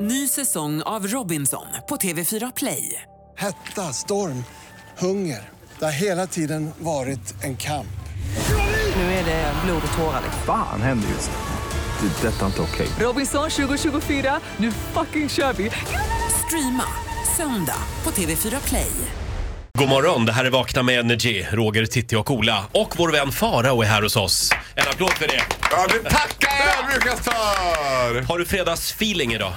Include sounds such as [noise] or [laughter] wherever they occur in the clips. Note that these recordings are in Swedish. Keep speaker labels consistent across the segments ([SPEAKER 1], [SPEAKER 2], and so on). [SPEAKER 1] Ny säsong av Robinson på TV4 Play.
[SPEAKER 2] Hetta, storm, hunger. Det har hela tiden varit en kamp.
[SPEAKER 1] Nu är det blod och tårar. liksom.
[SPEAKER 3] Fan händer just nu. Det. är Detta är inte okej.
[SPEAKER 1] Robinson 2024, nu fucking kör vi! Streama söndag på TV4 Play.
[SPEAKER 4] God morgon, det här är Vakna med Energy. Roger, Titti och Ola. Och vår vän Farao är här hos oss. En applåd för det.
[SPEAKER 5] Ja, det tackar jag ödmjukast för!
[SPEAKER 4] Har du fredagsfeeling idag?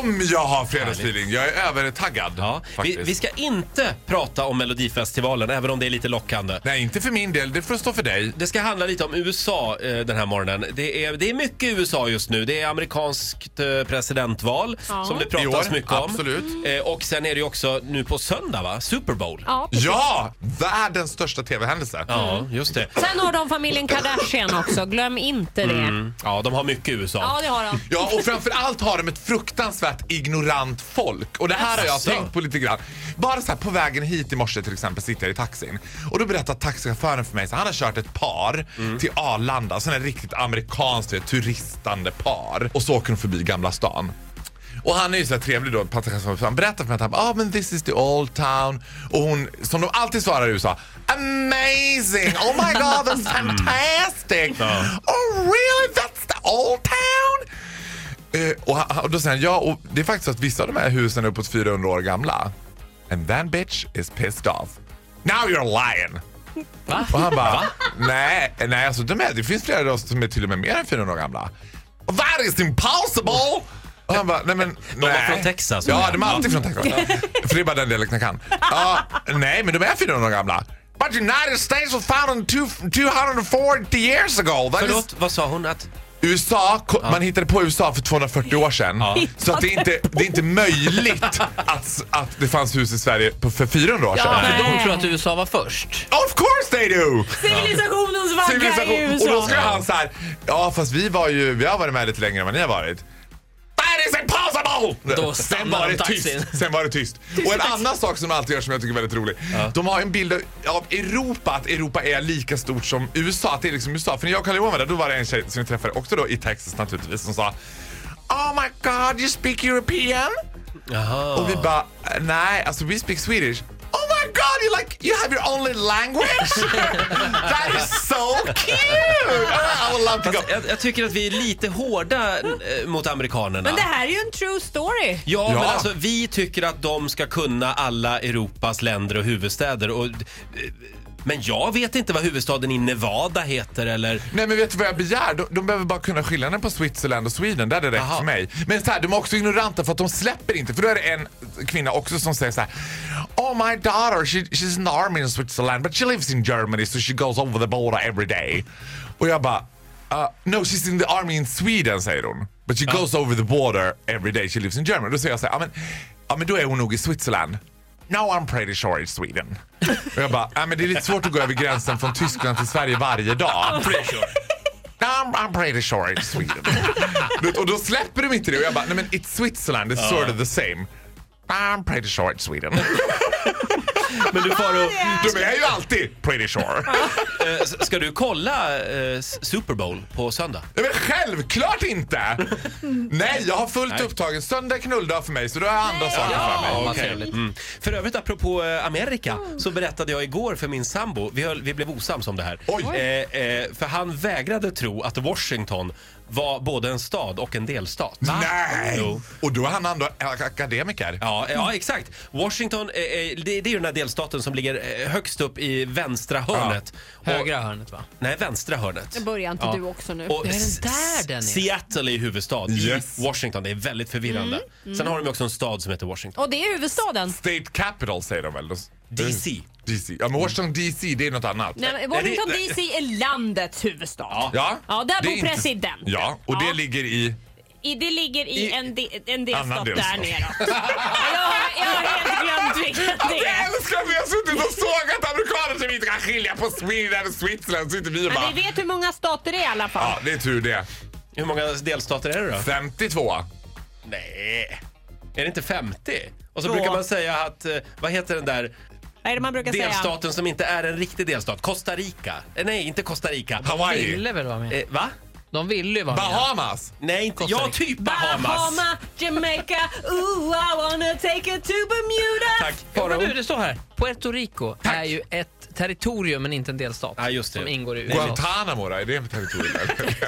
[SPEAKER 5] Om jag har fredagsfeeling. Jag är övertaggad.
[SPEAKER 4] Ja. Vi,
[SPEAKER 5] faktiskt.
[SPEAKER 4] vi ska inte prata om Melodifestivalen, även om det är lite lockande.
[SPEAKER 5] Nej, inte för min del. Det får stå för dig.
[SPEAKER 4] Det ska handla lite om USA eh, den här morgonen. Det är, det är mycket USA just nu. Det är amerikanskt eh, presidentval som det
[SPEAKER 5] I
[SPEAKER 4] pratas
[SPEAKER 5] år,
[SPEAKER 4] mycket om.
[SPEAKER 5] absolut.
[SPEAKER 4] Eh, och sen är det ju också nu på söndag, va? Super Bowl.
[SPEAKER 6] Ja, precis.
[SPEAKER 5] Ja! Världens största tv-händelse.
[SPEAKER 4] Ja, just det.
[SPEAKER 6] Sen har de familjen Kardashian också, glöm inte det.
[SPEAKER 5] Mm.
[SPEAKER 4] Ja, de har mycket USA.
[SPEAKER 6] Ja, det har de.
[SPEAKER 5] Ja, och framförallt har de ett fruktansvärt ignorant folk. Och det här har jag
[SPEAKER 4] Asså.
[SPEAKER 5] tänkt på lite grann. Bara så här på vägen hit i morse till exempel sitter jag i taxin. Och då berättar taxichauffören för mig att han har kört ett par till Arlanda. Sådana här riktigt amerikanskt du vet, turistande par. Och så åker de förbi Gamla stan. Och han är ju så här trevlig då, passagerarchauffören. Han berättar för mig att han bara, ah, men this is the old town. Och hon, som de alltid svarar i USA, amazing! Oh my god, that's fantastic! Oh really, that's the old town! Eh, och, han- och då säger han, ja och det är faktiskt så att vissa av de här husen är uppåt 400 år gamla. And that bitch is pissed off. Now you're lying! Och han bara, nej, nej alltså de här, det finns flera av oss som är till och med mer än 400 år gamla. That is impossible! Och han bara, nej men De
[SPEAKER 4] var
[SPEAKER 5] nej.
[SPEAKER 4] från Texas,
[SPEAKER 5] Ja,
[SPEAKER 4] menar
[SPEAKER 5] de är alltid från Texas. [laughs] För det är bara den dialekten jag kan. Ja, nej, men de är 400 år gamla. But United States was founded two- 240 years ago. That is
[SPEAKER 4] Förlåt, vad sa hon? Att...
[SPEAKER 5] USA, ko- man hittade på USA för 240 år sedan. Så att det, är inte, det är inte möjligt att, att det fanns hus i Sverige på, för 400 år sedan.
[SPEAKER 7] Ja, för de
[SPEAKER 6] Nej.
[SPEAKER 7] tror att USA var först.
[SPEAKER 5] Of course they do!
[SPEAKER 6] Civilisationens vagga i
[SPEAKER 5] Civilisation. Och då
[SPEAKER 6] USA.
[SPEAKER 5] ska han så här, ja fast vi var ju, vi har varit med lite längre än vad ni har varit. That is impossible!
[SPEAKER 7] Då
[SPEAKER 5] sen
[SPEAKER 7] stannar
[SPEAKER 5] var
[SPEAKER 7] de
[SPEAKER 5] det tyst.
[SPEAKER 7] taxin.
[SPEAKER 5] Sen var det tyst. Och en annan sak som de alltid gör som jag tycker är väldigt rolig. De har en bild av Europa, att Europa är lika stort som USA. Att det är liksom USA. För när jag och Carl-Johan var där, då var det en tjej som vi träffade också då i Texas naturligtvis som sa Oh my god, you speak European? Och vi bara, nej, alltså we speak Swedish. Oh my god, you like, you have your
[SPEAKER 4] [laughs]
[SPEAKER 5] only language? That is so cute! I would love to go.
[SPEAKER 4] Fast jag, jag tycker att vi är lite hårda eh, mot amerikanerna.
[SPEAKER 6] Men det här är ju en true story.
[SPEAKER 4] Ja,
[SPEAKER 5] Ja.
[SPEAKER 4] men alltså vi tycker att de ska kunna alla Europas länder och huvudstäder. Och, eh, men jag vet inte vad huvudstaden i Nevada heter eller...
[SPEAKER 5] Nej men vet du vad jag begär? De, de behöver bara kunna skillnaden på Switzerland och Sweden. Där är det rätt
[SPEAKER 4] Aha.
[SPEAKER 5] för mig. Men så här, de är också ignoranta för att de släpper inte. För då är det en kvinna också som säger så här. Oh my daughter, she, she's in the army in Switzerland but she lives in Germany so she goes over the border every day. Och jag bara, uh, no she's in the army in Sweden säger hon. But she goes over the border every day she lives in Germany. Då säger jag så här, ja men, ja, men då är hon nog i Switzerland. No I'm pretty sure it's Sweden. Och jag bara, ja men det är lite svårt att gå över gränsen från Tyskland till Sverige varje dag. No, I'm, I'm pretty sure it's Sweden.
[SPEAKER 6] [laughs]
[SPEAKER 5] Du vet, och då släpper de inte det och jag bara, nej men it's Switzerland, it's sort of the same. I'm pretty sure it's
[SPEAKER 6] [laughs]
[SPEAKER 5] Sweden.
[SPEAKER 4] Men du Faro,
[SPEAKER 5] De är ju alltid pretty
[SPEAKER 6] [laughs]
[SPEAKER 5] sure.
[SPEAKER 4] eh, s- ska du kolla eh, s- Super Bowl på söndag?
[SPEAKER 5] Ja, men självklart inte! Nej, jag har fullt upptagen. Söndag är knulldag för mig så då har jag andra saker för mig.
[SPEAKER 7] vad
[SPEAKER 4] okej.
[SPEAKER 7] trevligt.
[SPEAKER 4] Mm. För övrigt, apropå eh, Amerika, så berättade jag igår för min sambo, vi, höll, vi blev osams om det här.
[SPEAKER 5] Oj.
[SPEAKER 4] Eh, eh, för han vägrade tro att Washington var både en stad och en delstat.
[SPEAKER 5] Nej!
[SPEAKER 4] Jo.
[SPEAKER 5] Och då är han ändå ak- akademiker.
[SPEAKER 4] Ja, ja exakt. Washington, eh, eh, det, det är ju den här delstaten som ligger eh, högst upp i vänstra hörnet. Och-
[SPEAKER 7] Högra hörnet va?
[SPEAKER 4] Nej, vänstra hörnet.
[SPEAKER 6] Börjar inte du också nu?
[SPEAKER 4] Och
[SPEAKER 7] är den
[SPEAKER 4] S-
[SPEAKER 7] där den är.
[SPEAKER 4] Seattle är huvudstad
[SPEAKER 5] Yes.
[SPEAKER 4] i Washington. Det är väldigt förvirrande.
[SPEAKER 7] Mm,
[SPEAKER 4] Sen har de ju också en stad som heter Washington.
[SPEAKER 6] Och det är huvudstaden.
[SPEAKER 5] State Capital säger de väl?
[SPEAKER 4] DC.
[SPEAKER 5] DC. Ja men Washington DC det är något annat.
[SPEAKER 6] Nej, men Washington DC är landets huvudstad. Ja,
[SPEAKER 5] Ja,
[SPEAKER 6] där
[SPEAKER 5] det är
[SPEAKER 6] bor
[SPEAKER 5] inte-
[SPEAKER 6] presidenten.
[SPEAKER 5] Ja, och det
[SPEAKER 6] Ja.
[SPEAKER 5] ligger i...
[SPEAKER 6] I, det ligger i,
[SPEAKER 5] I-
[SPEAKER 6] en, de, en delstat
[SPEAKER 5] Annan
[SPEAKER 6] där
[SPEAKER 5] delstat.
[SPEAKER 6] nere. jag, har, jag har helt glömt vilken det
[SPEAKER 5] Alltså, Jag
[SPEAKER 6] är.
[SPEAKER 5] älskar att vi har suttit och sågat amerikaner som inte kan skilja på Sweden och Switzerland. Så sitter vi och bara...
[SPEAKER 6] Men vi vet hur många stater det är i alla fall.
[SPEAKER 5] Ja, det är tur det.
[SPEAKER 4] Hur många delstater är det då?
[SPEAKER 5] 52.
[SPEAKER 4] Nej. Är det inte 50? Och så
[SPEAKER 6] Då.
[SPEAKER 4] brukar man säga att, eh, vad heter den där
[SPEAKER 6] Vad är det man brukar säga?
[SPEAKER 4] delstaten som inte är en riktig delstat? Costa Rica? Eh, Nej, inte Costa Rica.
[SPEAKER 5] Hawaii.
[SPEAKER 7] Ville väl vara med?
[SPEAKER 4] Eh, va?
[SPEAKER 7] De ville ju vara med.
[SPEAKER 5] Bahamas!
[SPEAKER 4] Nej, inte
[SPEAKER 7] Costa
[SPEAKER 4] jag.
[SPEAKER 7] Rica.
[SPEAKER 4] Typ Bahamas.
[SPEAKER 6] Bahama, Jamaica, ooh I wanna take it to Bermuda.
[SPEAKER 4] Tack.
[SPEAKER 7] Ja, men
[SPEAKER 4] Faro.
[SPEAKER 7] du, det står här. Puerto Rico är ju ett territorium men inte en delstat.
[SPEAKER 4] Ja, just det.
[SPEAKER 7] Som ingår i USA.
[SPEAKER 5] Guantanamo då? Är det en territorium?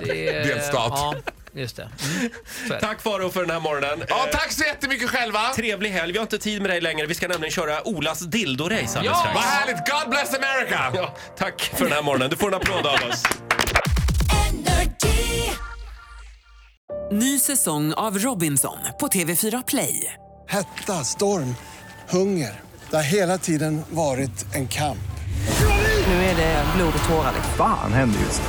[SPEAKER 7] Det är-
[SPEAKER 5] Delstat.
[SPEAKER 7] Ja, just det. Mm. Så är det.
[SPEAKER 4] Tack Faro för den här morgonen.
[SPEAKER 5] Ja,
[SPEAKER 4] Eh,
[SPEAKER 5] tack så jättemycket själva!
[SPEAKER 4] Trevlig helg. Vi har inte tid med dig längre. Vi ska nämligen köra Olas dildorace alldeles
[SPEAKER 7] Ja!
[SPEAKER 4] strax.
[SPEAKER 5] Vad härligt! God bless America!
[SPEAKER 4] Ja, tack för den här morgonen. Du får en applåd av oss.
[SPEAKER 1] Ny säsong av Robinson på TV4 Play.
[SPEAKER 2] Hetta, storm, hunger. Det har hela tiden varit en kamp.
[SPEAKER 8] Nu är det blod och tårar.
[SPEAKER 3] Fan händer just det.